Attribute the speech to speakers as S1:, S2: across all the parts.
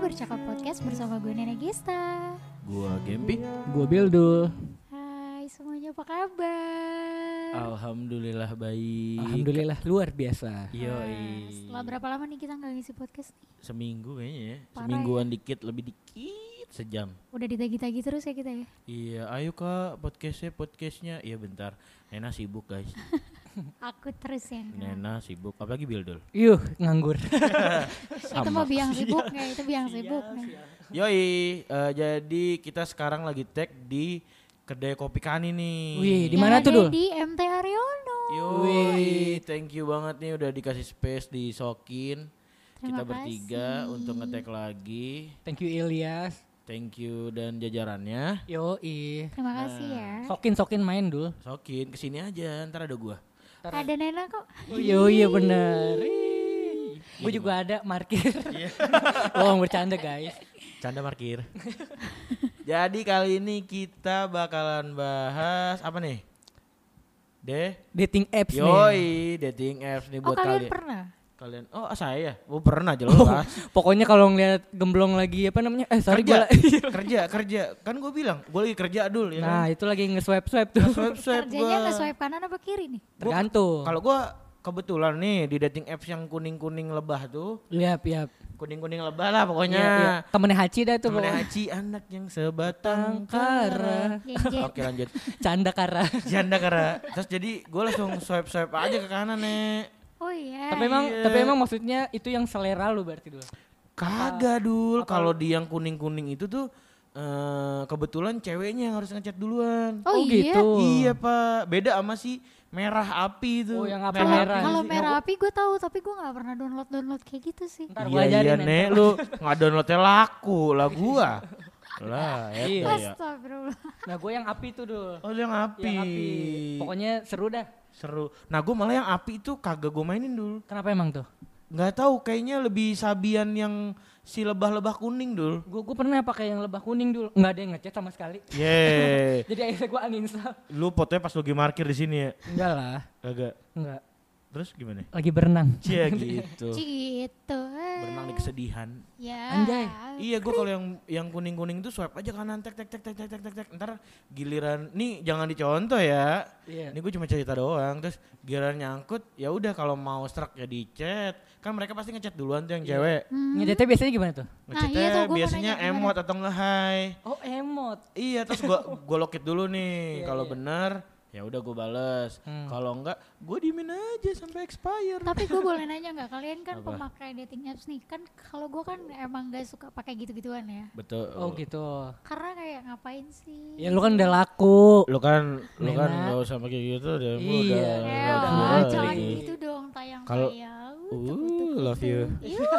S1: Bercakap Podcast bersama gue Nenek Gesta.
S2: Gua Gempi.
S3: Gue Bildo.
S1: Hai semuanya apa kabar?
S2: Alhamdulillah baik.
S3: Alhamdulillah luar
S1: Nah,
S3: biasa.
S2: Yoi.
S1: Setelah berapa lama nih kita nggak ngisi podcast nih?
S2: Seminggu kayaknya ya.
S1: Parah
S2: Semingguan dikit, lebih dikit sejam.
S1: Udah ditagi-tagi terus ya kita ya?
S2: Iya, ayo kak podcastnya podcastnya. Iya bentar. Nena sibuk guys.
S1: Aku terus ya. Nena.
S2: Nena sibuk. Apalagi Bildul.
S3: Yuh, nganggur.
S1: Itu mau biang sibuk nggak? Itu biang
S3: Iya,
S1: sibuk. ya. nggak?
S2: Yoi. eh, jadi kita sekarang lagi tag di kedai kopi kani nih.
S3: Wih,
S1: Yang
S3: di mana tuh,
S1: ada
S3: Dul?
S1: Di MT Aryono.
S2: Yoi, thank you banget nih udah dikasih space di Sokin.
S1: Terima
S2: kita bertiga untuk ngetek lagi.
S3: Thank you Ilyas.
S2: Thank you dan jajarannya.
S3: Yoi.
S1: Terima kasih ya.
S3: Nah, Sokin-sokin main dulu.
S2: Sokin kesini aja, ntar ada gua.
S1: Ada Nena kok.
S3: Oh iya bener. Gue juga ada markir.
S2: Iya.
S3: Wah bercanda guys.
S2: Canda parkir. Jadi kali ini kita bakalan bahas apa nih? Deh.
S3: Dating apps nih.
S2: Yoi, dating apps nih
S1: Oh
S2: buat
S1: kalian
S2: kalian.
S1: pernah?
S2: Kalian, oh saya, oh pernah jelas.
S3: Pokoknya kalau ngeliat gemblong lagi apa namanya? Eh sorry gue.
S2: kerja, Iya. kerja, kerja. Kan gue bilang, gue lagi kerja dulu ya.
S3: Nah itu lagi nge-swipe-swipe tuh.
S2: swipe swipe
S1: Kerjanya
S2: gue.
S1: nggak swipe kanan apa kiri nih?
S3: Tergantung.
S2: Kalau gue kebetulan nih di dating apps yang kuning kuning lebah tuh,
S3: Yap, yap.
S2: kuning kuning lebah lah pokoknya.
S3: Iya, iya. Temennya Haci dah tuh.
S2: Temennya
S3: pokoknya.
S2: Haji anak yang sebatang
S3: Kara.
S2: kara.
S1: Genjet.
S2: Oke lanjut.
S3: Canda Kara.
S2: Janda kara. Terus jadi gue langsung swipe swipe aja ke kanan nek.
S1: Oh iya.
S3: tapi emang tapi emang maksudnya itu yang selera lu berarti dulu.
S2: Kagak dul. Kalau di yang kuning kuning itu tuh eh, kebetulan ceweknya yang harus ngechat duluan.
S1: Oh, iya.
S3: gitu.
S2: Iya pak. Beda sama si merah api itu.
S3: Oh, yang apa
S1: Kalau-
S3: merah.
S1: Kalau
S2: Iya,
S1: merah api gue tahu, tapi gue nggak pernah download download kayak gitu sih.
S3: Ntar
S2: Iya
S3: gua
S2: iya
S3: ajarin ya. nanti.
S2: nek lu nggak downloadnya laku lah gua. lah
S3: Iya.
S2: eta ya.
S1: Astagfirullah.
S3: Nah, gue yang api itu dulu.
S2: Oh yang api.
S3: Yang api. Pokoknya seru dah.
S2: seru. Nah gue malah yang api itu kagak gue mainin dul.
S3: Kenapa emang tuh?
S2: nggak tahu kayaknya lebih sabian yang si lebah-lebah kuning dul
S3: Gue gue pernah pakai yang lebah kuning dulu. Nggak ada yang ngechat sama sekali.
S2: Yeay.
S3: Jadi akhirnya gue uninstall.
S2: lu fotonya pas lagi parkir di sini ya
S3: Enggak lah.
S2: kagak
S3: Enggak.
S2: terus gimana
S3: Lagi berenang.
S2: Cia gitu
S1: Gitu. eh.
S2: berenang di kesedihan
S1: Ya.
S3: Anjay.
S2: iya gua kalau yang yang kuning kuning itu swipe aja kanan tek tek tek tek tek tek tek, tek ntar giliran nih jangan dicontoh ya
S3: Iya.
S2: ini gue cuma cerita doang terus giliran nyangkut ya udah kalau mau struck ya di chat kan mereka pasti ngechat duluan tuh yang cewek
S3: Ngechatnya biasanya gimana
S1: Iya.
S3: tuh?
S1: Hmm. Nah,
S2: ngechatnya
S1: iya tuh, gua mau
S2: biasanya
S1: nanya gimana.
S2: emot atau nge hi
S3: Oh emot.
S2: Iya, terus gua gua lokit dulu nih.
S3: Iya,
S2: Kalau
S3: iya.
S2: bener ya udah gua bales.
S3: Hmm.
S2: Kalau enggak gua diemin aja sampai expire.
S1: Tapi gue boleh nanya nggak? Kalian kan
S2: Apa?
S1: pemakai dating apps nih. Kan kalau gue kan emang gak suka pakai gitu-gituan ya.
S2: Betul.
S3: Oh gitu.
S1: Karena kayak ngapain sih?
S3: Ya lu kan udah laku.
S2: Lu kan lu kan
S3: Enak.
S2: nggak usah pakai gitu deh.
S3: Iya,
S1: Eh,
S3: udah
S1: oh,
S3: balik.
S1: jangan gitu dong tayang
S2: Kalau-
S1: kayak.
S2: Uh, love you.
S1: Iya.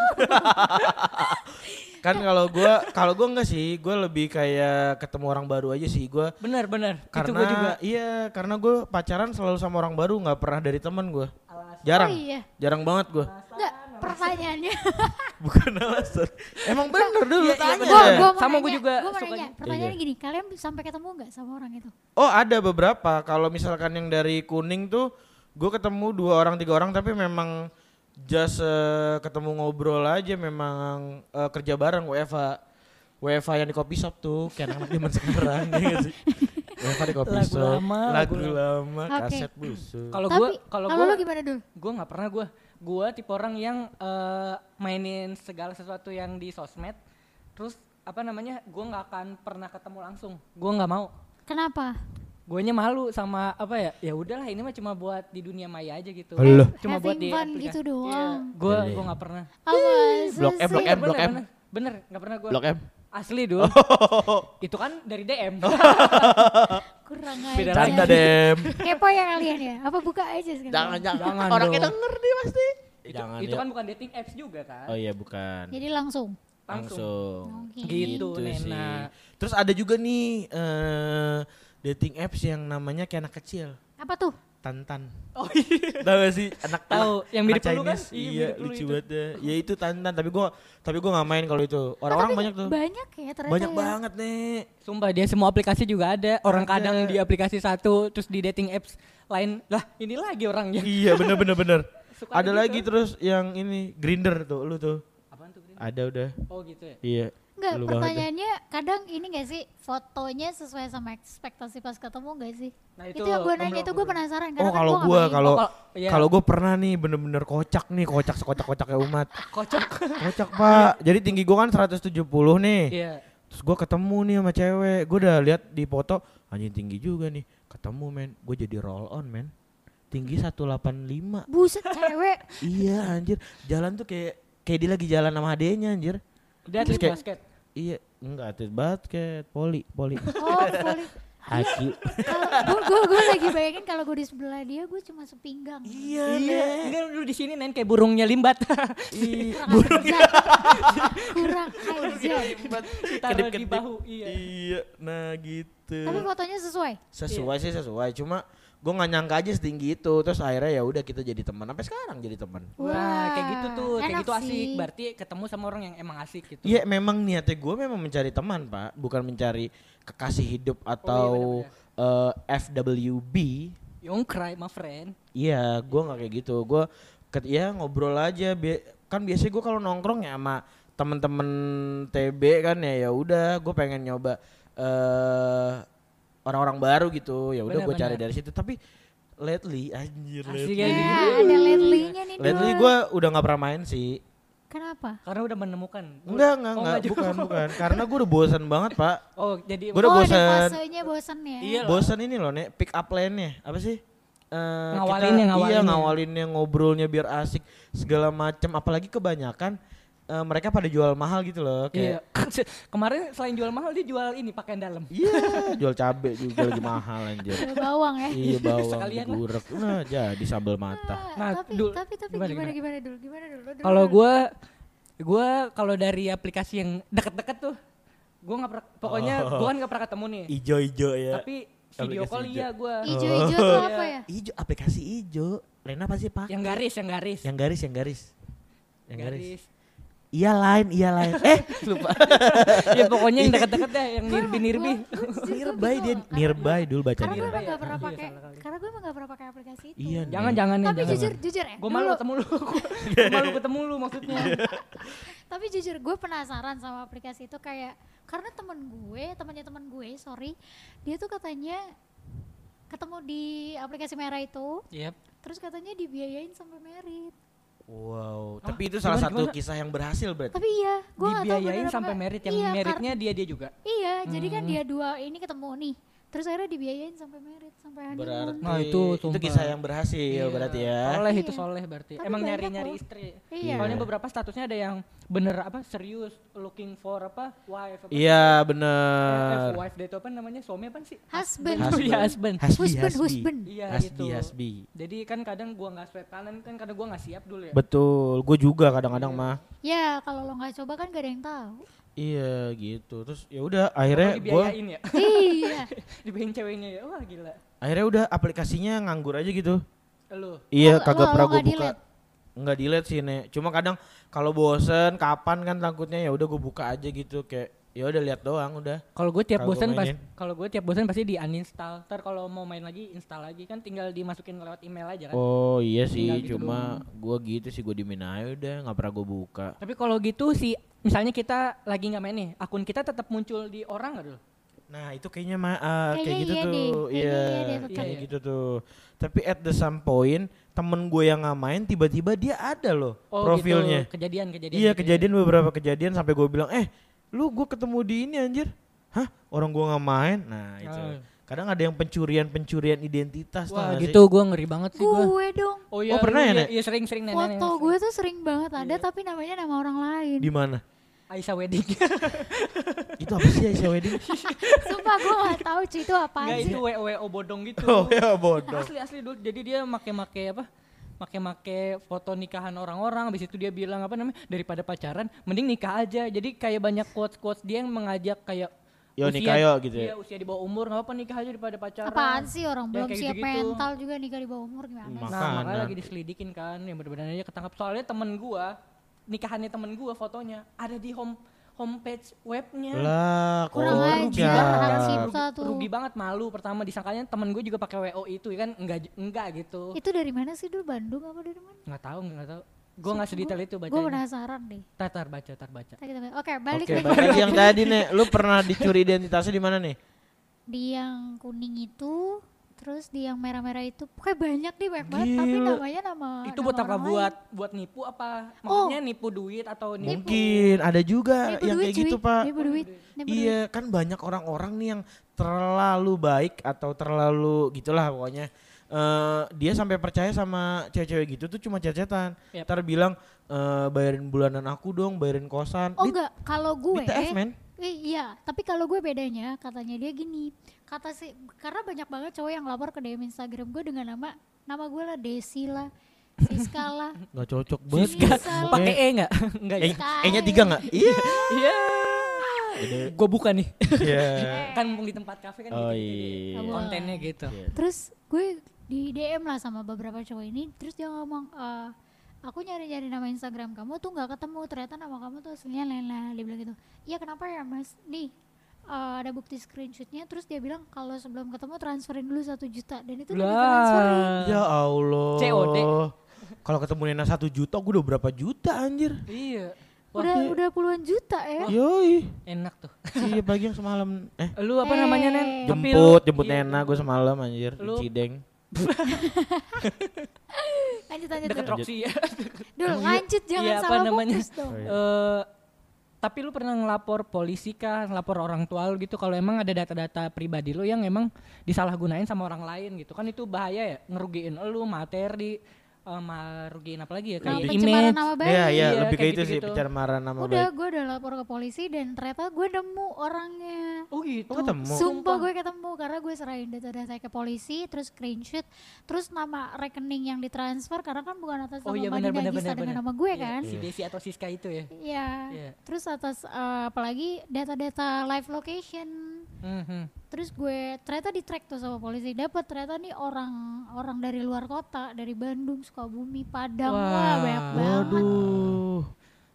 S2: Kan kalau gua kalau gua enggak sih, gua lebih kayak ketemu orang baru aja sih gua.
S3: Bener bener. itu
S2: Karena
S3: gue juga.
S2: iya, karena gua pacaran selalu sama orang baru, nggak pernah dari teman gua.
S3: Alasan.
S2: Jarang.
S1: Oh iya.
S2: Jarang banget gua.
S1: Enggak, pertanyaannya.
S2: Bukan alasan. Emang bener dulu
S3: Iya, iya,
S2: tanya.
S3: bener.
S2: deh.
S3: Gua-
S1: mau
S3: Sama
S1: nanya,
S3: gua juga
S1: gua mau
S3: sukanya.
S1: nanya. Pertanyaannya
S2: Iya,
S1: gini, kalian sampai ketemu nggak sama orang itu?
S2: Oh ada beberapa. Kalau misalkan yang dari kuning tuh, gue ketemu dua orang tiga orang tapi memang just eh, ketemu ngobrol aja memang eh, kerja bareng WFA. WFA yang di kopi shop tuh, kayak anak zaman sekarang ya nggak sih. WFA di kopi
S3: Lagu
S2: shop,
S3: lama,
S2: lagu
S3: lagu
S2: lama,
S1: Oke.
S2: kaset busuk.
S3: Kalau gue
S1: Tapi
S3: kalau
S1: kalau
S3: gue
S1: lu gimana dulu?
S3: gue nggak pernah gue gue tipe orang yang eh, mainin segala sesuatu yang di sosmed terus apa namanya gue nggak akan pernah ketemu langsung gue nggak mau
S1: Kenapa?
S3: guanya malu sama apa ya ya udahlah ini mah cuma buat di dunia maya aja gitu
S2: Loh.
S3: cuma buat
S1: Having
S3: di Iya.
S1: fun gitu doang.
S3: gue gue nggak pernah Iya,
S1: Apa
S2: Blok M,
S1: sih?
S2: Iya, blok M, blok
S3: Bener,
S2: M,
S3: bener. bener nggak pernah gue
S2: blok M.
S3: asli dulu itu kan dari dm
S1: Kurang
S3: Beda
S1: aja.
S3: lagi.
S2: Canda dem.
S1: Kepo ya kalian ya? Apa buka aja sekarang?
S2: Jangan, jangan.
S3: Jangan
S2: Orangnya
S3: dong.
S2: denger dia pasti.
S3: itu,
S2: jangan
S3: itu
S2: ya.
S3: kan bukan dating apps juga kan
S2: Oh iya bukan.
S1: Jadi langsung.
S3: langsung
S2: langsung.
S1: Oke.
S3: Gitu,
S2: sih.
S3: Nena.
S2: Terus ada juga nih eh, dating apps yang namanya kayak anak kecil,
S1: Apa tuh?
S2: Tantan.
S3: oh iya
S2: Tahu gak sih anak
S3: Tahu,
S2: anak-
S3: yang
S2: anak
S3: mirip lu kan?
S2: Chinese.
S3: Iya,
S2: Iya,
S3: mirip lu
S2: lucu
S3: itu.
S2: banget. deh. Ya itu Tantan, tapi gua tapi gua nggak main kalau
S3: Eh,
S2: itu. Orang-orang
S1: Oh, tapi
S2: banyak tuh.
S1: Banyak ya ternyata.
S2: Banyak
S1: ya.
S2: banget nih.
S3: Sumpah dia semua aplikasi juga ada. Orang
S2: Ada.
S3: kadang di aplikasi satu terus di dating apps lain. Lah, ini lagi ya. orangnya.
S2: iya, bener bener bener.
S3: Suka
S2: ada
S3: gitu.
S2: lagi terus yang ini Grinder tuh, lu tuh.
S3: Apaan tuh? sebenarnya?
S2: Ada udah.
S3: Oh gitu ya.
S2: Iya.
S1: Enggak,
S2: Lu banget
S1: pertanyaannya kadang ini gak sih fotonya sesuai sama ekspektasi pas ketemu gak sih?
S3: Nah,
S1: itu,
S3: itu
S1: yang gue nanya
S3: belum-
S1: itu gue penasaran
S2: Oh
S1: karena kan
S2: kalau
S1: gua nggak
S2: gue
S1: pernah
S2: kalau
S3: Oh, kalau- iya.
S2: kalau gue pernah nih bener-bener kocak nih kocak sekocak kocaknya umat.
S3: Kocok.
S2: Kocak pak. Jadi tinggi gue kan 170 nih.
S3: Iya.
S2: Terus gue ketemu nih sama cewek. Gue udah lihat di foto anjing tinggi juga nih. Ketemu men. Gue jadi roll on men. Tinggi 185.
S1: Buset cewek.
S2: iya anjir. Jalan tuh kayak kayak dia lagi jalan sama adenya anjir.
S3: Dia atlet
S2: Terus kayak-
S3: basket.
S2: Iya. Enggak atlet basket. Poli. Poli.
S1: Oh, boleh.
S2: Haji.
S1: Kalau gue gue lagi bayangin kalau gue di sebelah dia gue cuma sepinggang.
S2: iya
S3: Iya,
S2: Nen.
S3: ini lu di sini nen kayak burungnya limbat.
S2: Iya.
S1: Kurang ajar. Kurang ajar.
S3: Taruh di
S2: Kedip-kedip.
S3: bahu. Iya.
S2: Iya. Nah gitu.
S1: Tapi fotonya sesuai.
S2: sesuai sih sesuai cuma gue nggak nyangka aja setinggi itu terus akhirnya ya udah kita jadi teman sampai sekarang jadi teman
S3: Wah, kayak gitu tuh, kayak
S1: enak
S3: gitu asik.
S1: sih.
S3: Berarti ketemu sama orang yang emang asik gitu.
S2: Iya memang niatnya gue memang mencari teman pak bukan mencari kekasih hidup atau eh, FWB
S3: Don't cry, my friend.
S2: iya gue nggak kayak gitu gue ket ya ngobrol aja Bi- kan biasanya gue kalau nongkrong ya sama temen-temen TB kan ya ya udah gue pengen nyoba eh orang-orang baru gitu ya udah gue cari
S3: Benar-benar.
S2: dari situ tapi lately anjir
S3: Asik
S2: lately.
S3: ya.
S1: Ya, ada ledley-nya nih
S2: Lately
S1: dua.
S2: gue udah nggak pernah main sih.
S1: Kenapa?
S3: Karena udah menemukan.
S2: Enggak, enggak,
S3: Oh,
S2: enggak,
S3: enggak juga.
S2: bukan, bukan. Karena gue udah bosan banget, Pak.
S3: Oh, jadi
S2: Gua udah
S1: oh,
S2: bosen.
S1: ada fasenya bosen ya.
S3: Iya. lah.
S2: Bosan ini loh, Nek. Pick up line-nya. Apa sih? Eh,
S3: Ngawalinnya,
S2: Iya,
S3: ngawalinnya.
S2: ngawalinnya, ngobrolnya biar asik, segala macem. Apalagi kebanyakan eh, mereka pada jual mahal gitu loh.
S3: Iya.
S2: Kayak,
S3: Kemarin selain jual mahal dia jual ini pakaian dalam.
S2: iya, jual cabe juga lagi mahal anjir.
S1: Ada Bawang ya.
S2: iya, bawang,
S3: Eh, Sekalian lah.
S2: gurek. Nah, jadi sambal
S1: Nah,
S2: mata.
S3: Nah,
S1: tapi,
S3: dul-
S1: tapi tapi
S3: gimana,
S1: gimana gimana, dulu? Gimana dulu? Lu dulu
S3: Kalau
S1: dulu.
S3: gue, gue kalau dari aplikasi yang deket-deket tuh, gue nggak pernah. Pokoknya
S2: Oh.
S3: gue kan nggak pernah ketemu nih.
S2: Ijo-ijo ya.
S3: Tapi video
S2: Aplikasi
S3: call
S2: hijau.
S3: iya gue.
S1: ijo-ijo tuh
S3: Iya.
S1: apa ya?
S2: Ijo, aplikasi ijo. Lena pasti pakai.
S3: Yang garis, yang garis.
S2: Yang garis, yang garis. Yang garis. Iya lain, iya lain. eh, lupa.
S3: ya pokoknya yang deket-deket deh, yang nirbi-nirbi.
S2: Nearby dia nearby dulu baca
S1: gitu. ya? Karena gue
S2: nearby.
S1: emang gak pernah
S3: Iya,
S1: pakai,
S3: salah kali.
S1: karena gue emang gak pernah pakai aplikasi itu.
S2: Iya. Nen.
S3: Jangan-jangan nih.
S1: Tapi
S3: jangan.
S1: jujur, jujur ya.
S3: Gue malu
S1: dulu-
S3: ketemu lu. Gue malu ketemu lu maksudnya.
S1: Tapi jujur gue penasaran sama aplikasi itu kayak karena temen gue, temannya temen gue, sorry, dia tuh katanya ketemu di aplikasi merah itu,
S3: Yep.
S1: terus katanya dibiayain sampai merit.
S2: Wow,
S3: Ah,
S2: tapi itu salah
S3: gimana,
S2: satu
S3: gimana?
S2: kisah yang berhasil berarti.
S1: Tapi iya, gue gak tahu
S3: Dibiayain
S1: bener apa
S3: sampai
S1: nggak.
S3: merit, yang
S1: Iya, kar-
S3: meritnya Hmm. dia dia juga.
S1: Iya, jadi kan dia dua ini ketemu nih, terus akhirnya dibiayain sampai merit, sampai honeymoon.
S2: Berarti
S3: Nah, itu
S2: itu,
S3: sumpah.
S2: kisah yang berhasil
S3: Iya,
S2: berarti ya.
S3: Soleh itu
S1: Iya.
S3: soleh berarti.
S1: Tapi
S3: Emang
S1: banyak
S3: nyari-nyari
S1: loh.
S3: istri.
S1: Iya.
S3: Soalnya beberapa statusnya ada yang bener apa serius looking for apa wife apa.
S2: Iya,
S3: Eh,
S2: benar.
S3: wife dia itu apa namanya? Suami apa sih?
S1: Husband.
S3: Iya, husband.
S2: Hasbi,
S1: Husband,
S2: hasbi.
S1: husband.
S3: Iya,
S2: Hasbi,
S3: gitu.
S2: hasbi.
S3: Jadi kan kadang gua nggak swipe kanan kan kadang gua nggak siap dulu ya.
S2: Betul, gue juga kadang-kadang mah.
S1: Ya kalau lo nggak coba kan gak ada yang tahu.
S2: Iya, gitu. Terus ya udah akhirnya
S3: Kalau
S2: gue
S3: dibiayain ya.
S1: iya.
S3: dibiayain ceweknya ya. Wah, gila.
S2: akhirnya udah aplikasinya nganggur aja gitu.
S3: Lu.
S2: Iya,
S1: Lo- lo-
S2: kagak pernah
S1: lo
S2: gue
S1: nggak
S2: buka. Nggak delete sih, Nek. Cuma kadang kalau bosen, kapan kan takutnya ya udah gue buka aja gitu kayak ya udah lihat doang udah.
S3: Kalau gue tiap
S2: Kalau gua
S3: bosan pas
S2: mainin.
S3: kalau gue tiap bosan pasti di uninstall. Ntar kalau mau main lagi install lagi kan tinggal dimasukin lewat email aja kan.
S2: Oh iya sih,
S3: Tinggal gitu
S2: cuma gue gitu sih gue dimin aja udah nggak pernah gue buka.
S3: Tapi kalau gitu sih misalnya kita lagi nggak main nih, akun kita tetap muncul di orang nggak dulu?
S2: Nah itu kayaknya mah ah, kayak
S1: Kayaknya
S2: gitu
S1: iya
S2: tuh,
S1: deh, kayaknya
S2: iya,
S1: iya deh,
S2: kayak
S3: betul.
S2: gitu tuh. Tapi at the some point temen gue yang nggak main tiba-tiba dia ada loh
S3: Oh,
S2: profilnya.
S3: gitu. Kejadian-kejadian.
S2: Iya kejadian beberapa kejadian sampai gue bilang eh lu gue ketemu di ini anjir, hah orang gue nggak main. Nah itu
S3: Ah.
S2: kadang ada yang pencurian pencurian identitas. tau
S3: Wah
S2: nggak sih?
S3: gitu gue ngeri banget sih gue.
S1: Gue dong.
S3: Oh
S2: Oh, pernah
S3: lu
S2: ya,
S3: iya-
S2: Nek?
S3: Iya sering-sering nenek.
S1: Foto gue tuh sering banget ada
S3: Iya.
S1: tapi namanya nama orang lain.
S2: Di mana?
S3: Aisyah wedding.
S2: itu apa sih Aisyah Wedding?
S1: Sumpah gue gak tahu cuy itu apaan
S3: Enggak
S1: sih.
S3: itu WO bodong gitu.
S2: oh ya bodoh.
S3: asli asli dulu. Jadi dia make-make apa? Make-make foto nikahan orang-orang. Habis itu dia bilang apa namanya? Daripada pacaran mending nikah aja. Jadi kayak banyak quotes-quotes dia yang mengajak kayak
S2: Yo, nikah yo, gitu ya.
S3: Iya, usia di bawah umur nggak apa nikah aja daripada pacaran.
S1: Apaan sih orang
S3: Ya,
S1: belum
S3: kayak
S1: siap
S3: gitu-gitu.
S1: mental juga nikah di bawah umur gimana?
S2: Mak-
S3: Nah, makanya
S2: Makanan.
S3: lagi diselidikin kan, yang benar-benar aja ketangkap. Soalnya temen gua, nikahannya temen gua fotonya ada di home homepage webnya. kan?
S2: Lah, ya.
S1: Kurang
S2: kocak.
S1: aja, hak
S3: rugi,
S1: cipta tuh.
S3: rugi banget malu pertama disangkanya temen gue juga pakai WO itu ya kan enggak enggak gitu.
S1: Itu dari mana sih dulu Bandung apa dari mana?
S3: Nggak tahu nggak tahu. Gue nggak sedetail itu
S1: Gue
S3: bacanya.
S1: penasaran deh.
S3: Tatar baca, tar baca.
S1: Tadi kita- Oke, balik
S2: Oke,
S1: lagi.
S2: balik lagi yang tadi nih, lu pernah dicuri identitasnya di mana nih?
S1: Di yang kuning itu, terus di yang merah-merah itu, kayak banyak deh banyak banget. Tapi
S2: Gila.
S1: namanya nama.
S3: Itu
S1: nama
S3: buat apa?
S1: Oh, orang
S3: Buat buat nipu apa? Maksudnya nipu duit atau nipu?
S2: Mungkin ada juga
S1: lain. Nipu
S2: yang
S1: duit,
S2: kayak
S1: cuy.
S2: gitu, Pak.
S1: Nipu duit. nipu duit.
S2: Iya, kan banyak orang-orang nih yang terlalu baik atau terlalu gitulah pokoknya. Eh dia sampai percaya sama cewek-cewek gitu tuh cuma cecetan.
S3: Yap.
S2: Ntar bilang eh, bayarin bulanan aku dong, bayarin kosan.
S1: Oh
S2: Di-
S1: enggak, kalau gue
S2: TF, men.
S1: I- iya, tapi kalau gue bedanya katanya dia gini. Kata si karena banyak banget cowok yang lapor ke DM Instagram gue dengan nama nama gue lah Desi lah, Siska lah.
S2: nggak cocok banget.
S1: Siska.
S2: Mukanya-
S3: Pakai e nggak? Nggak ya?
S2: Eh, E-nya tiga nggak? Iya.
S3: Iya. Gue buka nih.
S2: Iya.
S3: kan mumpung di tempat kafe kan
S2: Oh
S3: gitu-gitu dia.
S2: iya.
S1: Nggak
S3: Kontennya gitu.
S1: Terus gue di DM lah sama beberapa cowok ini, terus dia ngomong "Eh, aku nyari-nyari nama Instagram kamu tuh nggak ketemu, ternyata nama kamu tuh aslinya Lela. Dia bilang gitu. Iya kenapa ya mas? Nih eh, ada bukti screenshotnya terus dia bilang kalau sebelum ketemu transferin dulu satu juta dan itu udah ditransferin
S3: Lah.
S2: Ya Allah.
S3: COD.
S2: Kalau ketemu Nena satu juta, gue udah berapa juta anjir?
S3: Iya. Wah,
S1: udah udah puluhan juta ya
S3: Iya.
S2: Yoi.
S3: enak tuh.
S2: Iya pagi yang semalam. Eh,
S3: Lu apa namanya, Nen? Tapi lu-
S2: jemput, jemput Nena gue semalam anjir. di
S3: Lu-
S2: Cideng.
S1: lanjut lanjut
S3: Deket
S1: dulu,
S3: Roxy ya.
S1: Dul, lanjut jangan
S3: Iya, apa
S1: salah
S3: namanya?
S1: fokus dong
S2: Iya.
S3: Eh, tapi lu pernah ngelapor polisi kah, ngelapor orang tua lu gitu kalau emang ada data-data pribadi lu yang emang disalahgunain sama orang lain gitu. Kan itu bahaya ya, ngerugiin lu, materi, eh merugiin apa lagi ya
S1: Nama Nah,
S3: kayak
S1: pencemaran
S3: image.
S1: nama baik
S2: Iya, iya,
S3: Iya,
S2: lebih ke
S3: kayak
S2: itu sih
S3: gitu-gitu.
S2: pencemaran nama
S1: udah
S2: baik.
S1: gue udah lapor ke polisi dan ternyata gue nemu orangnya
S3: Oh gitu.
S2: Oh, ketemu.
S1: Sumpah gue ketemu karena gue serahin data-data ke polisi, terus screenshot, terus nama rekening yang ditransfer karena kan bukan atas nama
S3: Oh iya
S1: Madinah
S3: benar benar
S1: Gista
S3: benar.
S1: dengan
S3: benar.
S1: nama gue
S3: Iya,
S1: kan.
S3: Si Desi atau Siska itu ya.
S1: Iya.
S3: Iya.
S1: Terus atas eh, apalagi data-data live location.
S3: Mhm.
S1: Terus gue ternyata di track tuh sama polisi. Dapat ternyata nih orang orang dari luar kota, dari Bandung, Sukabumi, Padang. Wah,
S3: Wah.
S1: banyak banget.
S2: Waduh.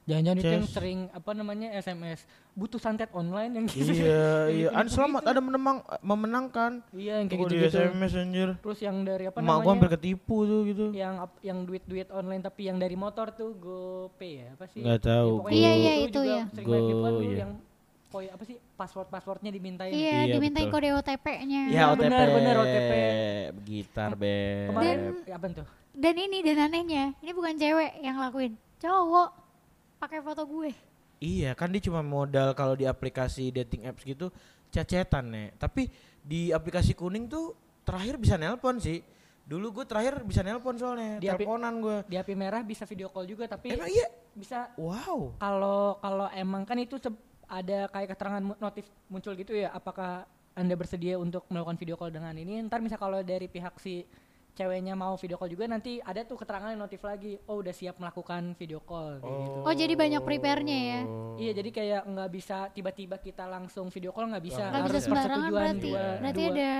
S3: Jangan-jangan itu yang
S2: Ces.
S3: sering apa namanya SMS butuh santet online yang gitu.
S2: iya, iya.
S3: Yang
S2: An selamat
S3: gitu-gitu.
S2: ada menemang memenangkan.
S3: Iya yang kayak
S2: Gue di
S3: gitu-gitu.
S2: SMS anjir.
S3: Terus yang dari apa
S2: Emak gue hampir
S3: namanya? Iya.
S2: ketipu tuh gitu.
S3: yang ap- yang duit-duit online tapi yang dari motor tuh GoPay ya apa sih?
S2: Nggak tahu,
S3: Ya, pokoknya
S1: Iya,
S3: itu
S1: iya,
S3: juga
S1: itu ya.
S3: sering banget nipuan
S2: Go,
S3: dulu
S2: iya.
S3: yang koi apa sih password-passwordnya dimintain.
S1: Iya,
S2: Iya,
S1: dimintain
S2: betul.
S1: kode OTP-nya.
S2: Ya,
S3: Iya, benar, benar, OTP.
S2: Gitar, Beb.
S3: Kemarin
S1: Dan-
S3: ya, apa tuh?
S1: Dan ini dan anehnya, ini bukan cewek yang lakuin. Cowok pakai foto gue.
S2: Iya kan dia cuma modal kalau di aplikasi dating apps gitu cecetan nih. Tapi di aplikasi kuning tuh terakhir bisa nelpon sih. Dulu gue terakhir bisa nelpon soalnya,
S3: Di api-
S2: teleponan gue.
S3: Di api merah bisa video call juga tapi
S2: Emang iya?
S3: bisa
S2: Wow.
S3: kalau kalau emang kan itu se- ada kayak keterangan mu- notif muncul gitu ya apakah anda bersedia untuk melakukan video call dengan ini ntar misal kalau dari pihak si ceweknya mau video call juga nanti ada tuh keterangan yang notif lagi oh udah siap melakukan video call kayak gitu.
S1: Oh, jadi banyak prepare-nya ya.
S3: Iya jadi kayak nggak bisa tiba-tiba kita langsung video call nggak bisa
S1: Gak bisa
S3: harus
S1: sembarangan
S3: persetujuan
S1: berarti.
S3: dua,
S1: berarti
S3: dua.
S1: ada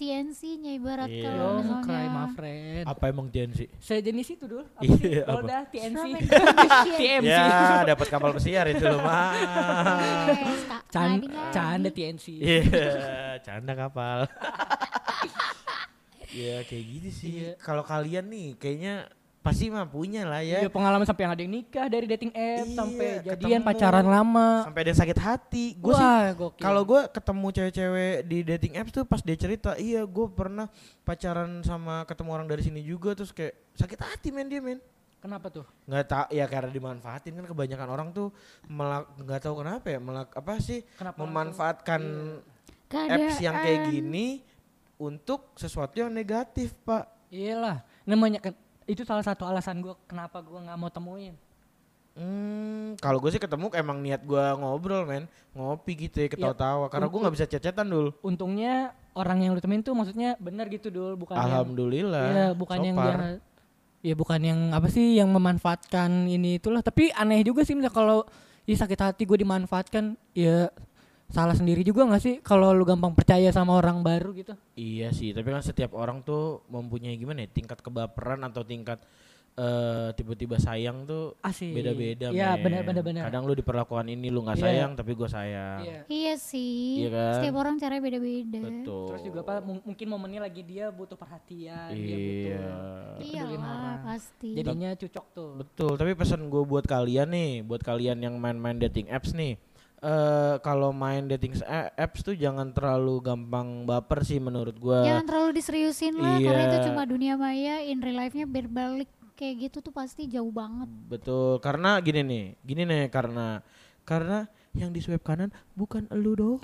S1: TNC-nya ibarat
S2: Iya.
S1: kalau
S3: Don't cry my
S1: misalnya.
S3: friend.
S2: Apa emang Gen Z?
S3: Sejenis itu dulu. Apa
S2: Iya,
S3: sih?
S2: apa?
S3: Polda, TNC,
S1: Strawberry condition.
S3: TMC.
S2: Ya, dapat kapal pesiar itu loh, mah.
S1: Yes, tak
S3: Can-
S1: ngadi-ngadi.
S3: canda TNC.
S2: Iya, canda kapal. ya kayak gitu sih.
S3: Iya.
S2: Kalau kalian nih kayaknya pasti mah punya lah ya.
S3: Iya pengalaman sampai yang ada yang nikah dari dating app
S2: Iya,
S3: sampai jadian
S2: ketemu.
S3: pacaran lama.
S2: Sampai ada yang sakit hati. Gue sih
S3: Wah, gokil.
S2: Kalau gue ketemu cewek-cewek di dating apps tuh pas dia cerita, iya gue pernah pacaran sama ketemu orang dari sini juga terus kayak sakit hati men dia men.
S3: kenapa tuh?
S2: Nggak tak ya karena dimanfaatin kan kebanyakan orang tuh melak nggak tahu kenapa ya melak apa sih
S3: Kenapa
S2: memanfaatkan
S1: Iya. Keadaan.
S2: apps yang kayak gini untuk sesuatu yang negatif pak.
S3: Iyalah, namanya kan itu salah satu alasan gue kenapa gue nggak mau temuin.
S2: Hmm, kalau gue sih ketemu emang niat gue ngobrol men, ngopi gitu ya
S3: Iya.
S2: ketawa-tawa karena gue nggak bisa cecetan dulu.
S3: Untungnya orang yang lu temuin tuh maksudnya bener gitu dul, bukan yang
S2: Alhamdulillah.
S3: Iya, bukan yang
S2: Sopar.
S3: jahat. Ya bukan yang apa sih yang memanfaatkan ini itulah. Tapi aneh juga sih misal kalau ya sakit hati gue dimanfaatkan, ya salah sendiri juga nggak sih kalau lu gampang percaya sama orang baru gitu.
S2: Iya sih, tapi kan setiap orang tuh mempunyai gimana ya tingkat kebaperan atau tingkat eh, tiba-tiba sayang tuh
S3: Asik.
S2: beda-beda.
S3: Iya,
S2: men.
S3: benar benar benar.
S2: Kadang lu diperlakukan ini lu nggak
S3: Iya.
S2: sayang tapi gua sayang.
S3: Iya.
S1: Iya sih.
S2: Iya kan?
S1: Setiap orang caranya beda-beda.
S2: Betul.
S3: Terus juga apa mung- mungkin momennya lagi kan dia butuh perhatian, dia butuh
S2: Iya.
S1: Iya
S3: pedulin orang.
S1: pasti.
S3: Jadinya cucok tuh.
S2: Betul, tapi pesan gue buat kalian nih, buat kalian yang main-main dating apps nih, eh kalau main dating s- a- apps tuh jangan terlalu gampang baper sih menurut gue.
S1: Jangan terlalu diseriusin lah karena itu
S2: eh, Iya.
S1: cuma dunia maya, in real life-nya berbalik kayak gitu tuh pasti jauh banget.
S2: Betul, karena gini nih, gini nih karena karena yang di swipe kanan bukan elu doang.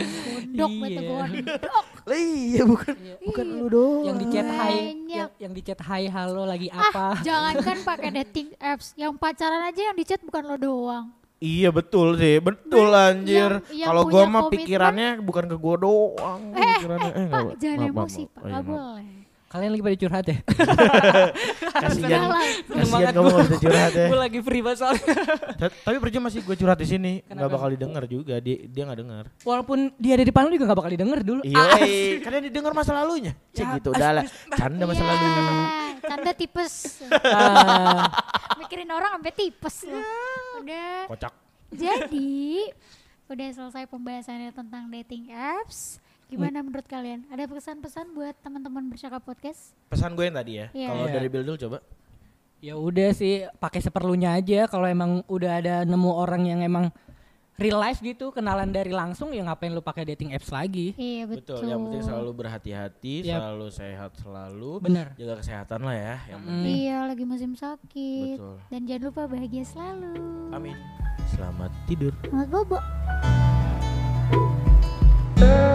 S1: Gondok betul gondok.
S3: Iya.
S2: Lah iya bukan
S3: Iya.
S2: bukan
S1: Iya.
S2: elu doang.
S3: Yang di chat hai, yang,
S1: Banyak.
S3: yang di chat hai halo lagi apa?
S1: Ah, Jangankan pakai dating apps, yang pacaran aja yang di chat bukan lo doang.
S2: Iya betul sih, betul
S1: Nah,
S2: anjir.
S1: yang- yang
S2: Kalau gua
S1: punya
S2: mah
S1: komitmen-
S2: pikirannya bukan ke gua doang.
S1: Eh,
S2: pikirannya.
S1: eh, Pak,
S2: nggak-
S1: jangan
S2: maaf, maaf,
S1: emosi,
S2: maaf.
S1: Pak.
S2: Oh, iya,
S1: Enggak
S2: maaf.
S1: boleh.
S3: Kalian lagi pada curhat ya?
S2: Kasihan,
S1: Jalan.
S3: Seneng
S2: kasihan
S3: banget
S2: kamu
S3: gua.
S2: gak bisa curhat ya.
S3: Gue lagi free banget soalnya.
S2: Ta- Tapi percuma masih gue curhat di sini, nggak
S3: Kenapa?
S2: bakal didengar juga. Dia dia nggak dengar.
S3: Walaupun dia ada di depan lu juga gak bakal didengar dulu.
S2: Iya, eh, karena didengar masa lalunya. Cek gitu, udah lah. Canda masa lalu.
S1: Iya, Tanda tipes.
S3: Ah,
S1: Mikirin orang sampai tipes lo. Udah.
S2: Kocak.
S1: Jadi, udah selesai pembahasannya tentang dating apps. Gimana
S2: Hmm.
S1: menurut kalian? Ada pesan-pesan buat teman-teman bercakap podcast?
S2: Pesan gue yang tadi ya.
S1: Iya.
S2: Kalau
S3: Iya.
S2: dari Bildul coba.
S3: ya udah sih pakai seperlunya aja kalau emang udah ada nemu orang yang emang real life gitu kenalan dari langsung ya ngapain lu pakai dating apps lagi
S1: Iya, betul.
S2: Betul. Yang penting selalu berhati-hati,
S3: Yap.
S2: selalu sehat selalu.
S3: bener
S2: Jaga kesehatan lah ya. Yang penting.
S3: Mm.
S1: Iya, lagi musim sakit.
S2: Betul.
S1: Dan jangan lupa bahagia selalu.
S2: Amin. Selamat tidur.
S1: Selamat bobo.
S4: Terima